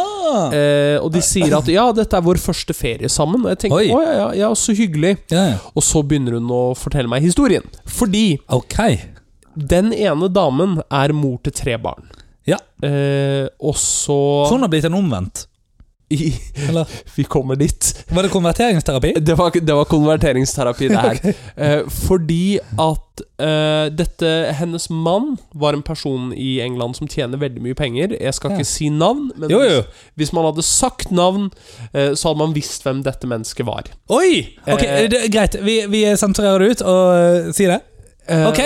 Eh, og de sier at 'ja, dette er vår første ferie sammen', og jeg tenker Oi. 'å ja, ja, ja, så hyggelig'. ja. ja. Og så begynner hun å fortelle meg historien. Fordi Ok. den ene damen er mor til tre barn. Ja. Eh, og så Sånn har blitt en omvendt. Eller Vi kommer dit. var det konverteringsterapi? Det var, det var konverteringsterapi, det her. Eh, fordi at eh, dette Hennes mann var en person i England som tjener veldig mye penger. Jeg skal Ja. ikke si navn, men Jo, jo. Hvis, hvis man hadde sagt navn, eh, så hadde man visst hvem dette mennesket var. Oi! Ok, Eh. det, er Greit, vi, vi sensurerer det ut og eh, sier det. Eh, Ok.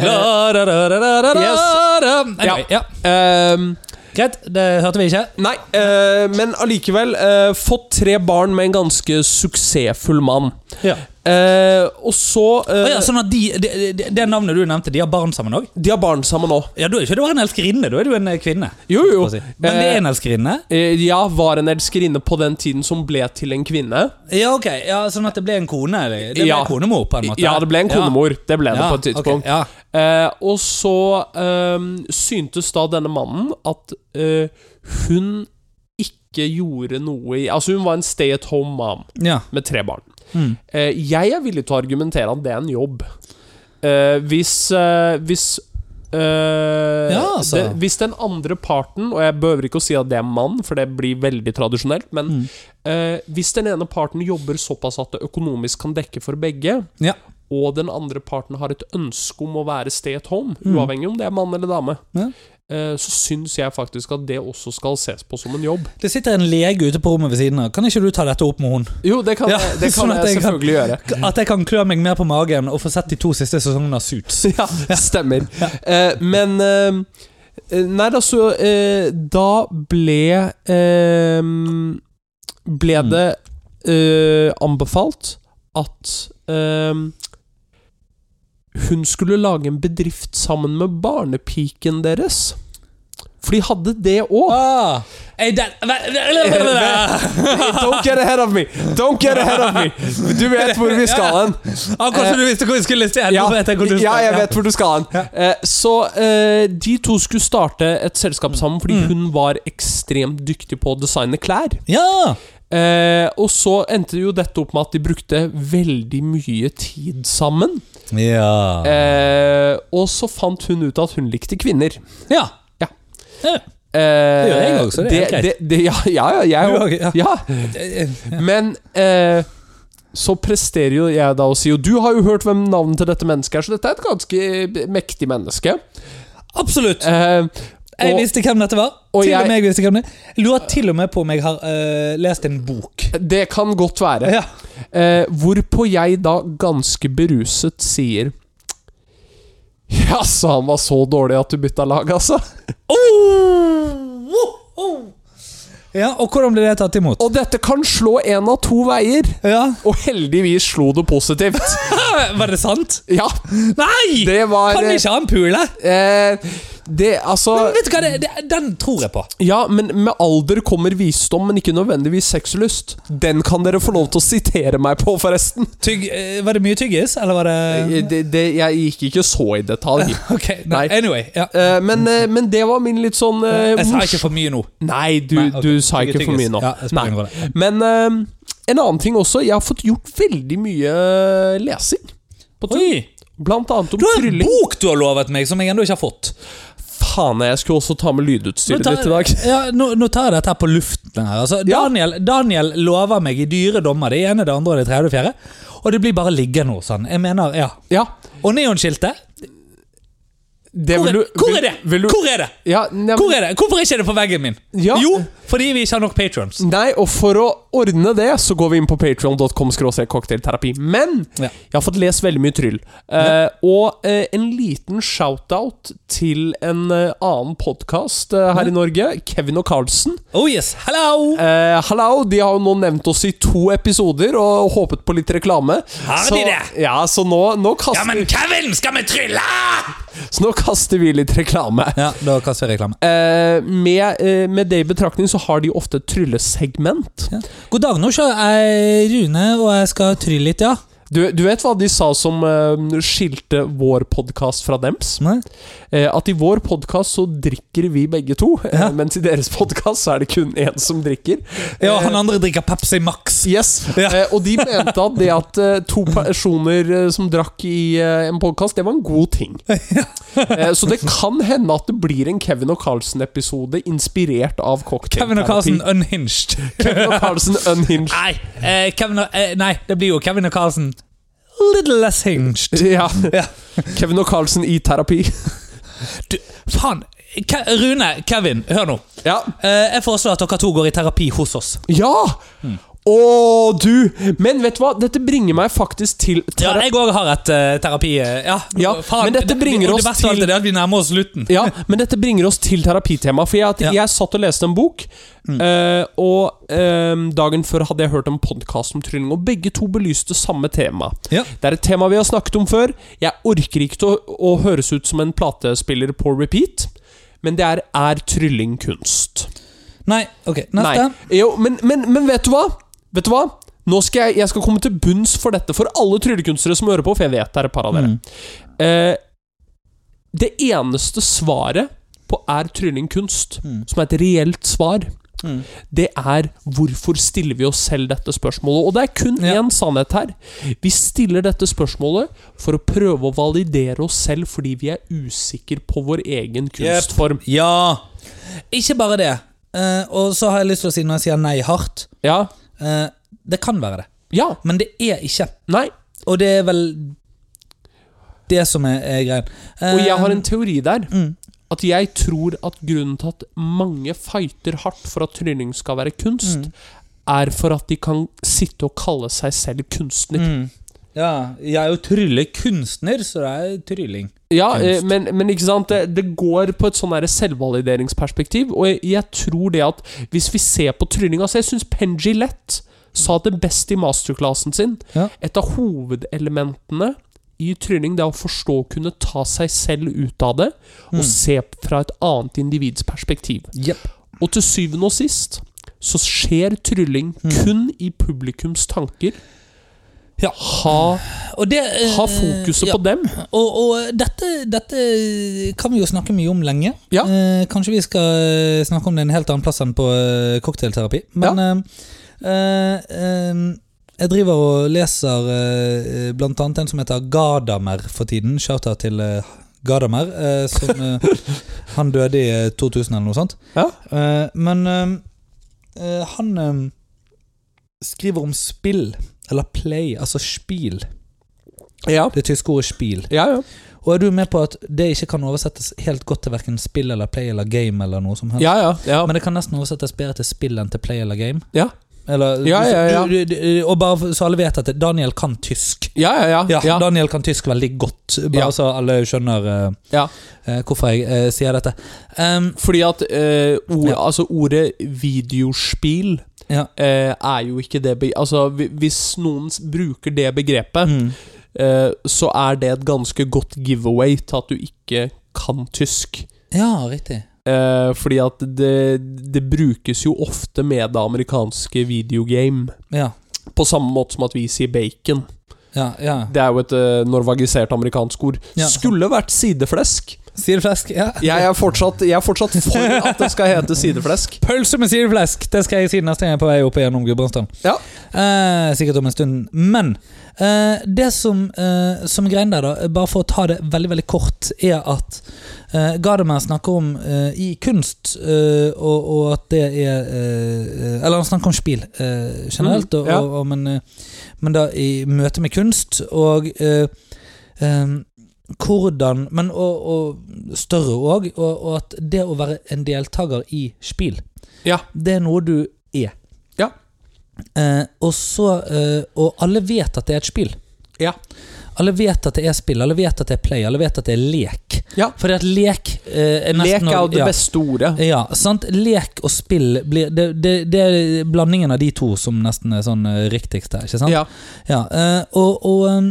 La, da, da, da, da, da, da. Anyway, ja. ehm, Greit, det hørte vi ikke. nei, eh, men allikevel eh, fått tre barn med en ganske suksessfull mann. Ja. Eh, og så eh, ja, sånn at de, de, de, Det navnet du nevnte, de har barn sammen òg? De har barn sammen òg. Ja, da er ikke du en elskerinne, da er du en eh, kvinne. Jo, jo. får jeg si. Men det er en elskerinne? Eh, Ja, var en elskerinne på den tiden som ble til en kvinne. Ja, ok. Ja, sånn at det ble en kone? eller? Det ble Ja. konemor, på en måte? Ja, det ble en konemor. Det ble det på et tidspunkt. ok, ja. Eh, og så ehm, syntes da denne mannen at eh, hun ikke gjorde noe i Altså, hun var en stay at home mom Ja. med tre barn. Mm. Eh, jeg er villig til å argumentere at det er en jobb. Eh, hvis eh, hvis eh, Ja, altså. det, Hvis den andre parten, og jeg behøver ikke å si at det er mann, for det blir veldig tradisjonelt, men Mm. eh, hvis den ene parten jobber såpass at det økonomisk kan dekke for begge, Ja. og den andre parten har et ønske om å være stay at home, uavhengig om det er mann eller dame, Mm. Ja. eh, så syns jeg faktisk at det også skal ses på som en jobb. Det sitter en lege ute på rommet ved siden av. Kan ikke du ta dette opp med hun? Jo, det kan, Ja, jeg- det kan sånn at jeg jeg kan- selvfølgelig gjøre. At jeg kan klø meg mer på magen og få sett de to siste sesongene av Suits. Ja, stemmer. Eh, men eh, Nei, da så eh, Da ble eh, Ble det eh, anbefalt at eh, hun skulle lage en bedrift sammen med barnepiken deres. For de hadde det òg. Ah, Hey, that, Don't get ahead of me! Don't get ahead of me! Du vet hvor vi skal hen. Akkurat som du visste hvor vi skulle til. Ja, Nå vet jeg hvor du ja, skal. jeg vet hvor du skal hen. Eh, Så eh, de to skulle starte et selskap sammen fordi Mm. hun var ekstremt dyktig på å designe klær. Ja. Eh, og så endte jo dette opp med at de brukte veldig mye tid sammen. Ja. Eh, og så fant hun ut at hun likte kvinner. ja. Ja. Ja. Eh, Det gjør jeg også, det er helt greit. det- det- Ja, ja, ja, Du jeg òg. også, ja. Ja. eh. Men eh, så presterer jo jeg da å si Og du har jo hørt hvem navnet til dette mennesket er, så dette er et ganske mektig menneske. Absolutt. Eh, Jeg og visste hvem dette var. og Til og jeg- med jeg visste hvem det Jeg lurer til og med på om jeg har eh, lest en bok. det kan godt være. Ja. Eh, hvorpå jeg da ganske beruset sier Jaså, han var så dårlig at du bytta lag, altså? Oh! Ja, Og hvordan ble det tatt imot? Og dette kan slå én av to veier. Ja. Og heldigvis slo det positivt. Var det sant? Ja, Nei! det var kan eh, ikke han pule? eh, Det, altså Vet du hva, det, det, Den tror jeg på. Ja, men med alder kommer visdom, men ikke nødvendigvis sexlyst. Den kan dere få lov til å sitere meg på, forresten. Eh, Tygg, eh, var det mye tyggis, eller var det Det, det, jeg gikk ikke så i detalj. Ok, nei, Nei. Anyway. Ja. Eh, Men, eh, men det var min litt sånn eh, Jeg sa mors- ikke for mye nå. Nei, du, Nei, ok, du sa tygge ikke for tyggis. mye nå. Ja, jeg spiller ingen rolle. Men eh, en annen ting også. Jeg har fått gjort veldig mye eh, lesing. På tur. Oi! Blant annet om Du har en trylling. bok du har lovet meg, som jeg ennå ikke har fått. Faen, jeg skulle også ta med Nå lydutstyret tar, ditt i dag. ja, nå, nå tar jeg dette her på luften. her altså, Ja. Daniel, Daniel lover meg i dyre dommer det ene, det andre og det tredje og det fjerde. Og det blir bare liggende hos han. Jeg mener, ja Ja, Og neonskiltet? det Hvor, vil er- du- hvor vil- er det? Vil du, Hvor er det? ja, nei, men- Hvor er det? Hvorfor er ikke det på veggen min? Ja. Jo, Fordi vi ikke har nok patrons. Nei, og for å ordne det, så går vi inn på patreon.com cocktailterapi. Men Ja. jeg har fått lest veldig mye tryll. Eh, og eh, en liten shout-out til en eh, annen podkast eh, her i Norge. Kevin og Carlsen. Oh yes, hello! Eh, hallo, de har jo nå nevnt oss i to episoder og håpet på litt reklame. Har de så, det? Ja, så nå, nå, kaster, Ja, men Kevin, skal vi trylle?! så nå kaster vi litt reklame. Ja, da kaster vi reklame. Eh, med, eh, med det i betraktning så har de ofte et tryllesegment. Ja. God dag, nå er jeg Rune, og jeg skal trylle litt, ja. Du, du vet hva de sa som eh, skilte vår podkast fra dems? Nei? Eh, at i vår podkast så drikker vi begge to, eh, Ja. mens i deres podkast så er det kun én som drikker. Ja, han andre drikker Pepsi Max. Yes, Ja. eh, Og de mente at det at eh, to personer eh, som drakk i eh, en podkast, det var en god ting. Eh, så det kan hende at det blir en Kevin og Carlsen-episode inspirert av cocktail. Kevin og Carlsen unhinged. Kevin og Carlsen unhinged. Nei, eh, Kevin og, eh, nei, det blir jo Kevin og Carlsen little less hinged. Ja. Ja. Kevin og Carlsen i terapi. Du, faen! Ke Rune, Kevin, hør nå. Ja. Eh, jeg foreslår at dere to går i terapi hos oss. ja. Hmm. Å, du! Men vet du hva? Dette bringer meg faktisk til Ja, terapi. jeg òg har et eh, terapi... eh, Ja, Ja, men dette det- bringer det, oss det beste av alt til- er det at vi nærmer oss slutten. Ja, men dette bringer oss til terapitemaet. For jeg, at Ja. Hmm. jeg satt og leste en bok, eh, og eh, dagen før hadde jeg hørt en podkast om trylling, og begge to belyste samme tema. Ja. Det er et tema vi har snakket om før. Jeg orker ikke til å, å høres ut som en platespiller på repeat, men det er Er trylling kunst? Nei, ok, neste. Nei. Jo, men, men, men vet du hva? Vet du hva? Nå skal jeg, jeg skal komme til bunns for dette for alle tryllekunstnere som hører på, for jeg vet det er et par av dere. Mm. Eh, det eneste svaret på er trylling kunst, som er et reelt svar, Mm. det er hvorfor stiller vi oss selv dette spørsmålet? Og det er kun Ja. én sannhet her. Vi stiller dette spørsmålet for å prøve å validere oss selv fordi vi er usikre på vår egen kunstform. Ja. Ikke bare det. Eh, og så har jeg lyst til å si når jeg sier nei hardt Ja. eh, Det kan være det, Ja. men det er ikke. Nei. Og det er vel det som er, er greien. Eh, Og jeg har en teori der. Mm. At jeg tror at grunnen til at mange fighter hardt for at trylling skal være kunst, Mm. er for at de kan sitte og kalle seg selv kunstner. mm. Ja, jeg er jo tryllekunstner, så det er trylling. Ja, eh, Kunst. men, men ikke sant det, det går på et sånn her selvvalideringsperspektiv, og jeg, jeg tror det at hvis vi ser på trylling Altså, jeg syns Penji Lett sa det best i masterclassen sin. Ja. Et av hovedelementene i trylling det er å forstå å kunne ta seg selv ut av det, Mm. og se fra et annet individs perspektiv. Og til syvende og sist så skjer trylling Hmm. kun i publikums tanker. Ja. Ha, Og det, eh, ha fokuset ja. på dem. Og, og dette, dette kan vi jo snakke mye om lenge. Ja. Eh, kanskje vi skal eh, snakke om det en helt annen plass enn på eh, cocktailterapi. Men eh, eh, eh, jeg driver og leser eh, eh, blant annet en som heter Gadamer for tiden. Shout-out til eh, Gadamer, eh, som eh, Han døde i eh, 2000 eller noe sånt. Ja. Eh, men eh, eh, han eh, skriver om spill, eller play, altså spiel. Ja, Det tyske ordet spiel. ja. ja. Og er du med på at det ikke kan oversettes helt godt til hverken spill eller play eller game eller noe som helst? ja, ja, ja. Men det kan nesten oversettes bedre til spill enn til play eller game. ja. Eller, Ja, ja, ja. Du, du, du, og bare for- så alle vet at det- Daniel kan tysk. Ja, ja, ja. Ja, ja, Daniel kan tysk veldig godt, bare Ja. så alle skjønner eh, ja. eh, hvorfor jeg eh, sier dette. Ehm, Fordi at eh, ord, Ja. altså ordet videospill ja. eh, er jo ikke det be Altså, hvi- hvis noen s- bruker det begrepet, Mm. eh, så er det et ganske godt giveaway til at du ikke kan tysk. ja, riktig. Eh, fordi at det, det brukes jo ofte med det amerikanske videogame. Ja. På samme måte som at vi sier bacon. Ja, ja. Det er jo et eh, norvagisert amerikansk ord. Ja. Skulle vært sideflesk. Sideflesk. Ja. Jeg er, fortsatt, jeg er fortsatt for at det skal hete sideflesk. Pølse med sideflesk! Det skal jeg si neste gang jeg er på vei opp gjennom Gudbrandsdalen. Ja. Eh, sikkert om en stund. Men eh, det som, eh, som er greien der, da, bare for å ta det veldig veldig kort, er at eh, Gadamer snakker om eh, i kunst, eh, og, og at det er eh, Eller han snakker om spill eh, generelt, Mm, og, ja. og, og, men, eh, men da i møte med kunst. Og eh, eh, hvordan Men og, og større òg. Og, og at det å være en deltaker i spill, Ja. det er noe du er. Ja. Eh, og så eh, Og alle vet at det er et spill. Ja. Alle vet at det er spill, alle vet at det er play, alle vet at det er lek. Ja. Fordi at lek eh, er Lek nesten er jo det ja. beste ordet. Ja, sant? Lek og spill blir det, det, det er blandingen av de to som nesten er sånn eh, riktigst her, ikke sant? Ja. Ja, eh, og, og, em,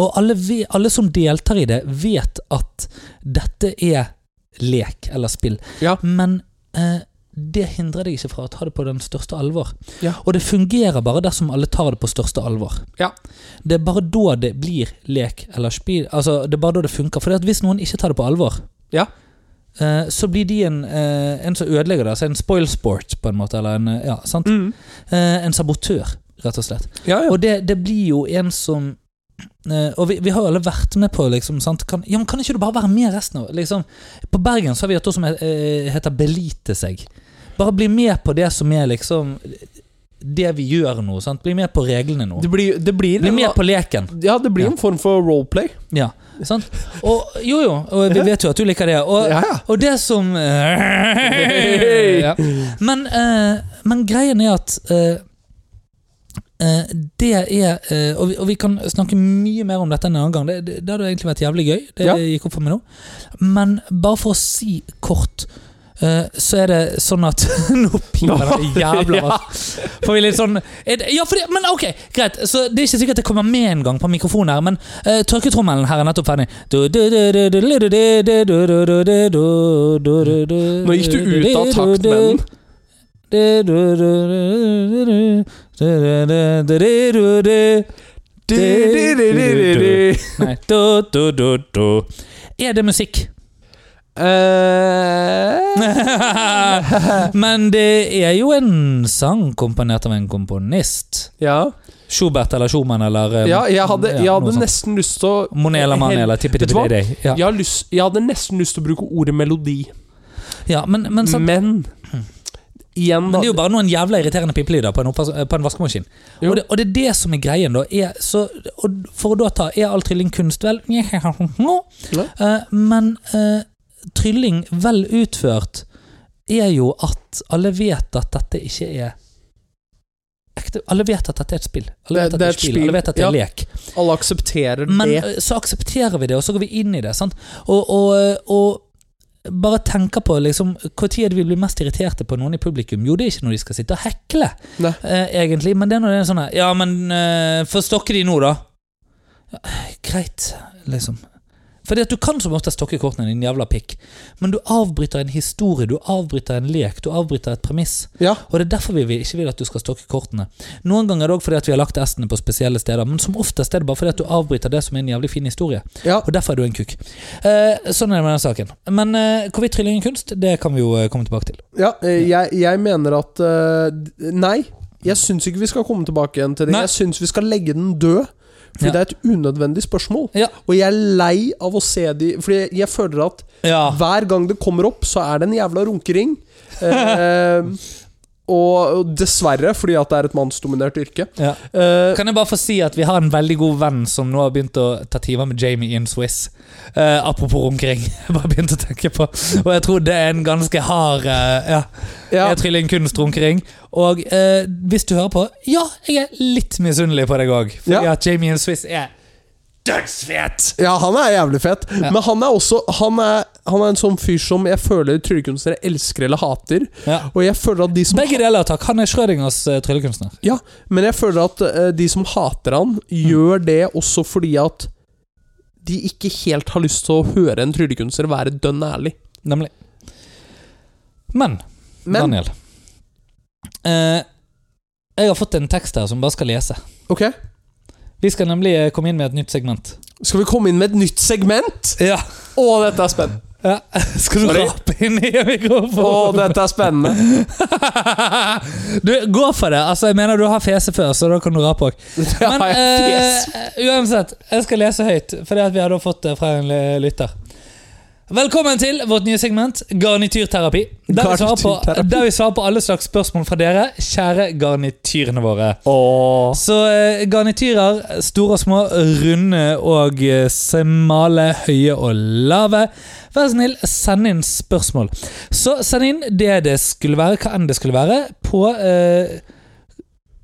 og alle, vi, alle som deltar i det, vet at dette er lek eller spill. Ja. Men eh, det hindrer deg ikke fra å ta det på den største alvor. Ja. Og det fungerer bare dersom alle tar det på største alvor. Ja. Det er bare da det blir lek eller spill. Altså, det er bare da det funker. For hvis noen ikke tar det på alvor, Ja. eh, så blir de en, eh, en som ødelegger det. Altså en spoilsport, på en måte. Eller en, eh, ja, sant? Mm. Eh, en sabotør, rett og slett. Ja, ja. Og det, det blir jo en som eh, Og vi, vi har jo alle vært med på liksom, sant? Kan, ja, men kan ikke du bare være med resten av liksom? På Bergen så har vi hatt noe som eh, heter Belite seg. Bare bli med på det som er liksom det vi gjør nå. Sant? Bli med på reglene nå. Det blir, det blir, Bli med på leken. ja, det blir Ja. en form for roleplay. Ja, sant? Og, jo, jo, og vi vet jo at du liker det. Og, Ja, ja. og det som ja. men, eh, men greien er at eh, eh, det er eh, og, vi, og vi kan snakke mye mer om dette en annen gang. Det, det, det hadde jo egentlig vært jævlig gøy. Det Ja. gikk opp for meg nå. Men bare for å si kort, eh, så er det sånn at Nå piper det jævla Ja. masse. Får vi litt sånn er det- Ja, fordi, men ok, greit. Så Det er ikke sikkert det kommer med en gang på mikrofonen her, men eh, tørketrommelen her er nettopp ferdig. Nå Nå gikk du ut av takt med den. Nei. Du, du, du, du. Er det musikk? Eh. Men det er jo en sang komponert av en komponist. Ja. Schubert eller Schumann eller eh, ja, jeg hadde, jeg ja, noe hadde sånt. nesten lyst til å Monet eller Manet eller tippetippidei. Ja. jeg, har lyst, jeg hadde nesten lyst til å bruke ordet melodi, Ja, men, men, sant, men Hmm. Igjen, men da. det er jo bare noen jævla irriterende pipelyder på en, oppvas- eh, på en vaskemaskin. Jo. Og det, og det er det som er greien, da. Er, så, og for å da ta Er all trylling kunst, vel? Eh, men eh, trylling vel utført er jo at alle vet at dette ikke er ekte. Alle vet at dette er et spill. Alle vet Det- at det er et spill. Alle vet at det er ja. lek. Alle aksepterer Men det. eh, så aksepterer vi det, og så går vi inn i det. Sant? Og, og, og bare tenker på liksom, Når er det vi blir mest irriterte på noen i publikum? Jo, det er ikke når de skal sitte og hekle, Nei. eh, egentlig. Men det er når det er sånn her Ja, men eh, få stokke de nå, da. Ja, greit, liksom. Fordi at Du kan som oftest stokke kortene, din jævla pikk, men du avbryter en historie, du avbryter en lek, du avbryter et premiss. Ja. Og det er derfor vi vil- ikke vil at du skal stokke kortene. Noen ganger er det også fordi at vi har lagt S-ene på spesielle steder, men som oftest er det bare fordi at du avbryter det som er en jævlig fin historie. Ja. Og derfor er du en kuk. Eh, sånn er det med den saken. Men eh, hvorvidt trylling er kunst, det kan vi jo eh, komme tilbake til. Ja, eh, jeg, jeg mener at eh, d- Nei, jeg syns ikke vi skal komme tilbake igjen til det. Nei. Jeg syns vi skal legge den død. Fordi Ja. det er et unødvendig spørsmål. Ja. Og jeg er lei av å se de Fordi jeg, jeg føler at Ja. hver gang det kommer opp, så er det en jævla runkering. Eh, og, og dessverre, fordi at det er et mannsdominert yrke. Eh, Kan jeg bare få si at vi har en veldig god venn som nå har begynt å ta timer med Jamie Ian Swiss. Eh, apropos omkring. Jeg bare begynte å tenke på Og jeg tror det er en ganske hard eh, ja. ja, Jeg triller en kunst omkring. Og eh, hvis du hører på, ja, jeg er litt misunnelig på deg òg. Fordi Ja. at Jamie and Swiss er dødsfet! ja, han er jævlig fett. Ja. Men han er også han er, han er en sånn fyr som jeg føler tryllekunstnere elsker eller hater. Ja. Og jeg føler at de som Begge deler, takk. Han er Schrødingers eh, tryllekunstner. Ja, men jeg føler at eh, de som hater han, gjør det også fordi at de ikke helt har lyst til å høre en tryllekunstner være dønn ærlig. Nemlig. Men, Men Daniel eh, Jeg har fått en tekst her som bare skal lese. ok, Vi skal nemlig eh, komme inn med et nytt segment. skal vi komme inn med et nytt segment? Ja, Å, dette er spennende! Skal du Sorry. rape inn i Å, mikrofonen? dette er spennende! du, gå for det. Altså, jeg mener du har fese før, så da kan du rape òg. Det har Men jeg fjes. eh, uansett, jeg skal lese høyt, for det at vi har da fått det fra en eh, lytter. Velkommen til vårt nye segment Garnityrterapi. Der vi, svarer på, Garnityrterapi. der vi svarer på alle slags spørsmål fra dere, kjære garnityrene våre. Åh. Så eh, garnityrer, store og små, runde og eh, smale, høye og lave. Vær så snill, send inn spørsmål. Så send inn det det skulle være, hva enn det skulle være, på eh,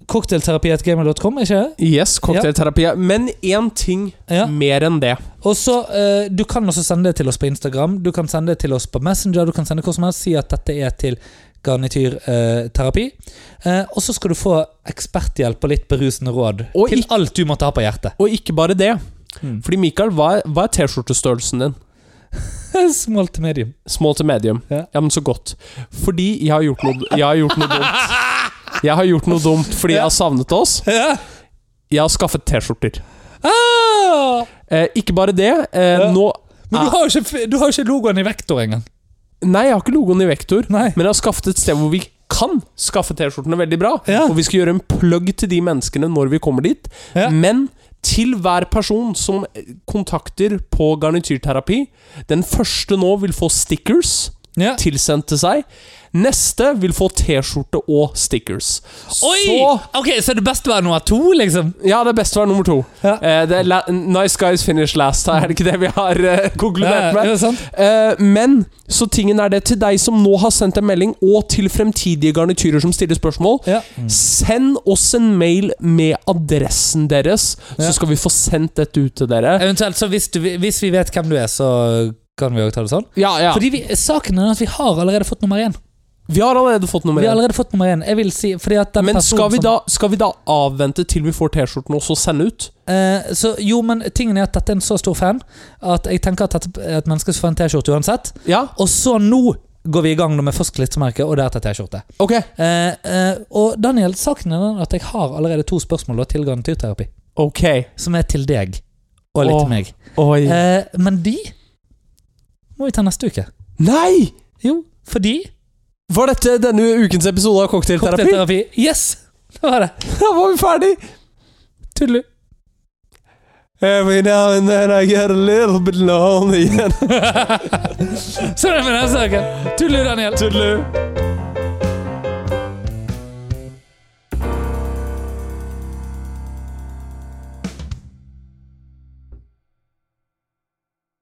cocktailterapi.gamer.com, ikke det? Yes, cocktailterapi. Men én ting Ja. mer enn det. Og så, eh, Du kan også sende det til oss på Instagram, du kan sende det til oss på Messenger, du kan sende hvor som helst. Si at dette er til garnityrterapi. Eh, og så skal du få eksperthjelp og litt berusende råd Og til ikk- alt du måtte ha på hjertet. Og ikke bare det. Mm. Fordi Mikael, hva er, hva er T-skjortestørrelsen din? Small to medium. Small til medium. Ja. Ja, men så godt. Fordi jeg har gjort noe, jeg har gjort noe dumt. Jeg har gjort noe dumt fordi jeg har savnet oss. Ja. Jeg har skaffet T-skjorter. Ah! Eh, ikke bare det. Eh, Ja. Nå Men du har, jo ikke, du har jo ikke logoen i vektor engang. Nei, jeg har ikke logoen i Vektor, Nei. men jeg har skaffet et sted hvor vi kan skaffe T-skjortene veldig bra. Ja. Og vi skal gjøre en plugg til de menneskene når vi kommer dit. Ja. Men til hver person som kontakter på garnityrterapi Den første nå vil få stickers Ja. tilsendt til seg. Neste vil få T-skjorte og stickers. Oi! Så Ok, Så er det best å være nummer to, liksom? Ja, det er best å være nummer to. Ja. Eh, det er la nice guys finish last, er det ikke det vi har eh, konkludert med? er det sant? Eh, men så tingen er det til deg som nå har sendt en melding, og til fremtidige garnityrer som stiller spørsmål. Ja. Send oss en mail med adressen deres, Ja. så skal vi få sendt dette ut til dere. Eventuelt, så hvis, du, hvis vi vet hvem du er, så kan vi òg ta det sånn. Ja, ja. Fordi vi, Saken er at vi har allerede fått nummer én. Vi har allerede fått nummer Vi har én. allerede fått nummer én. Jeg vil si, fordi at den Men personen skal vi, som- da, skal vi da avvente til vi får T-skjorten og så sende ut? Eh, så, jo, men tingen er at dette er en så stor fan at jeg tenker at dette er et menneske som får en T-skjorte uansett. Ja, Og så nå går vi i gang nå med først klistremerke og deretter T-skjorte. ok. Eh, eh, og Daniel, saken er den at jeg har allerede to spørsmål da, til garantiterapi. Ok. Som er til deg og litt Åh. til meg. Oi. Eh, men de må vi ta neste uke. Nei! Jo, fordi Var dette denne ukens episode av Cocktailterapi? Cocktailterapi. Yes! Det var det. Da var vi ferdig! Tudelu. Eh, Every now and then I get a little bit lonely. Så er det med neste uke. Tudelu, Daniel. Tudelu.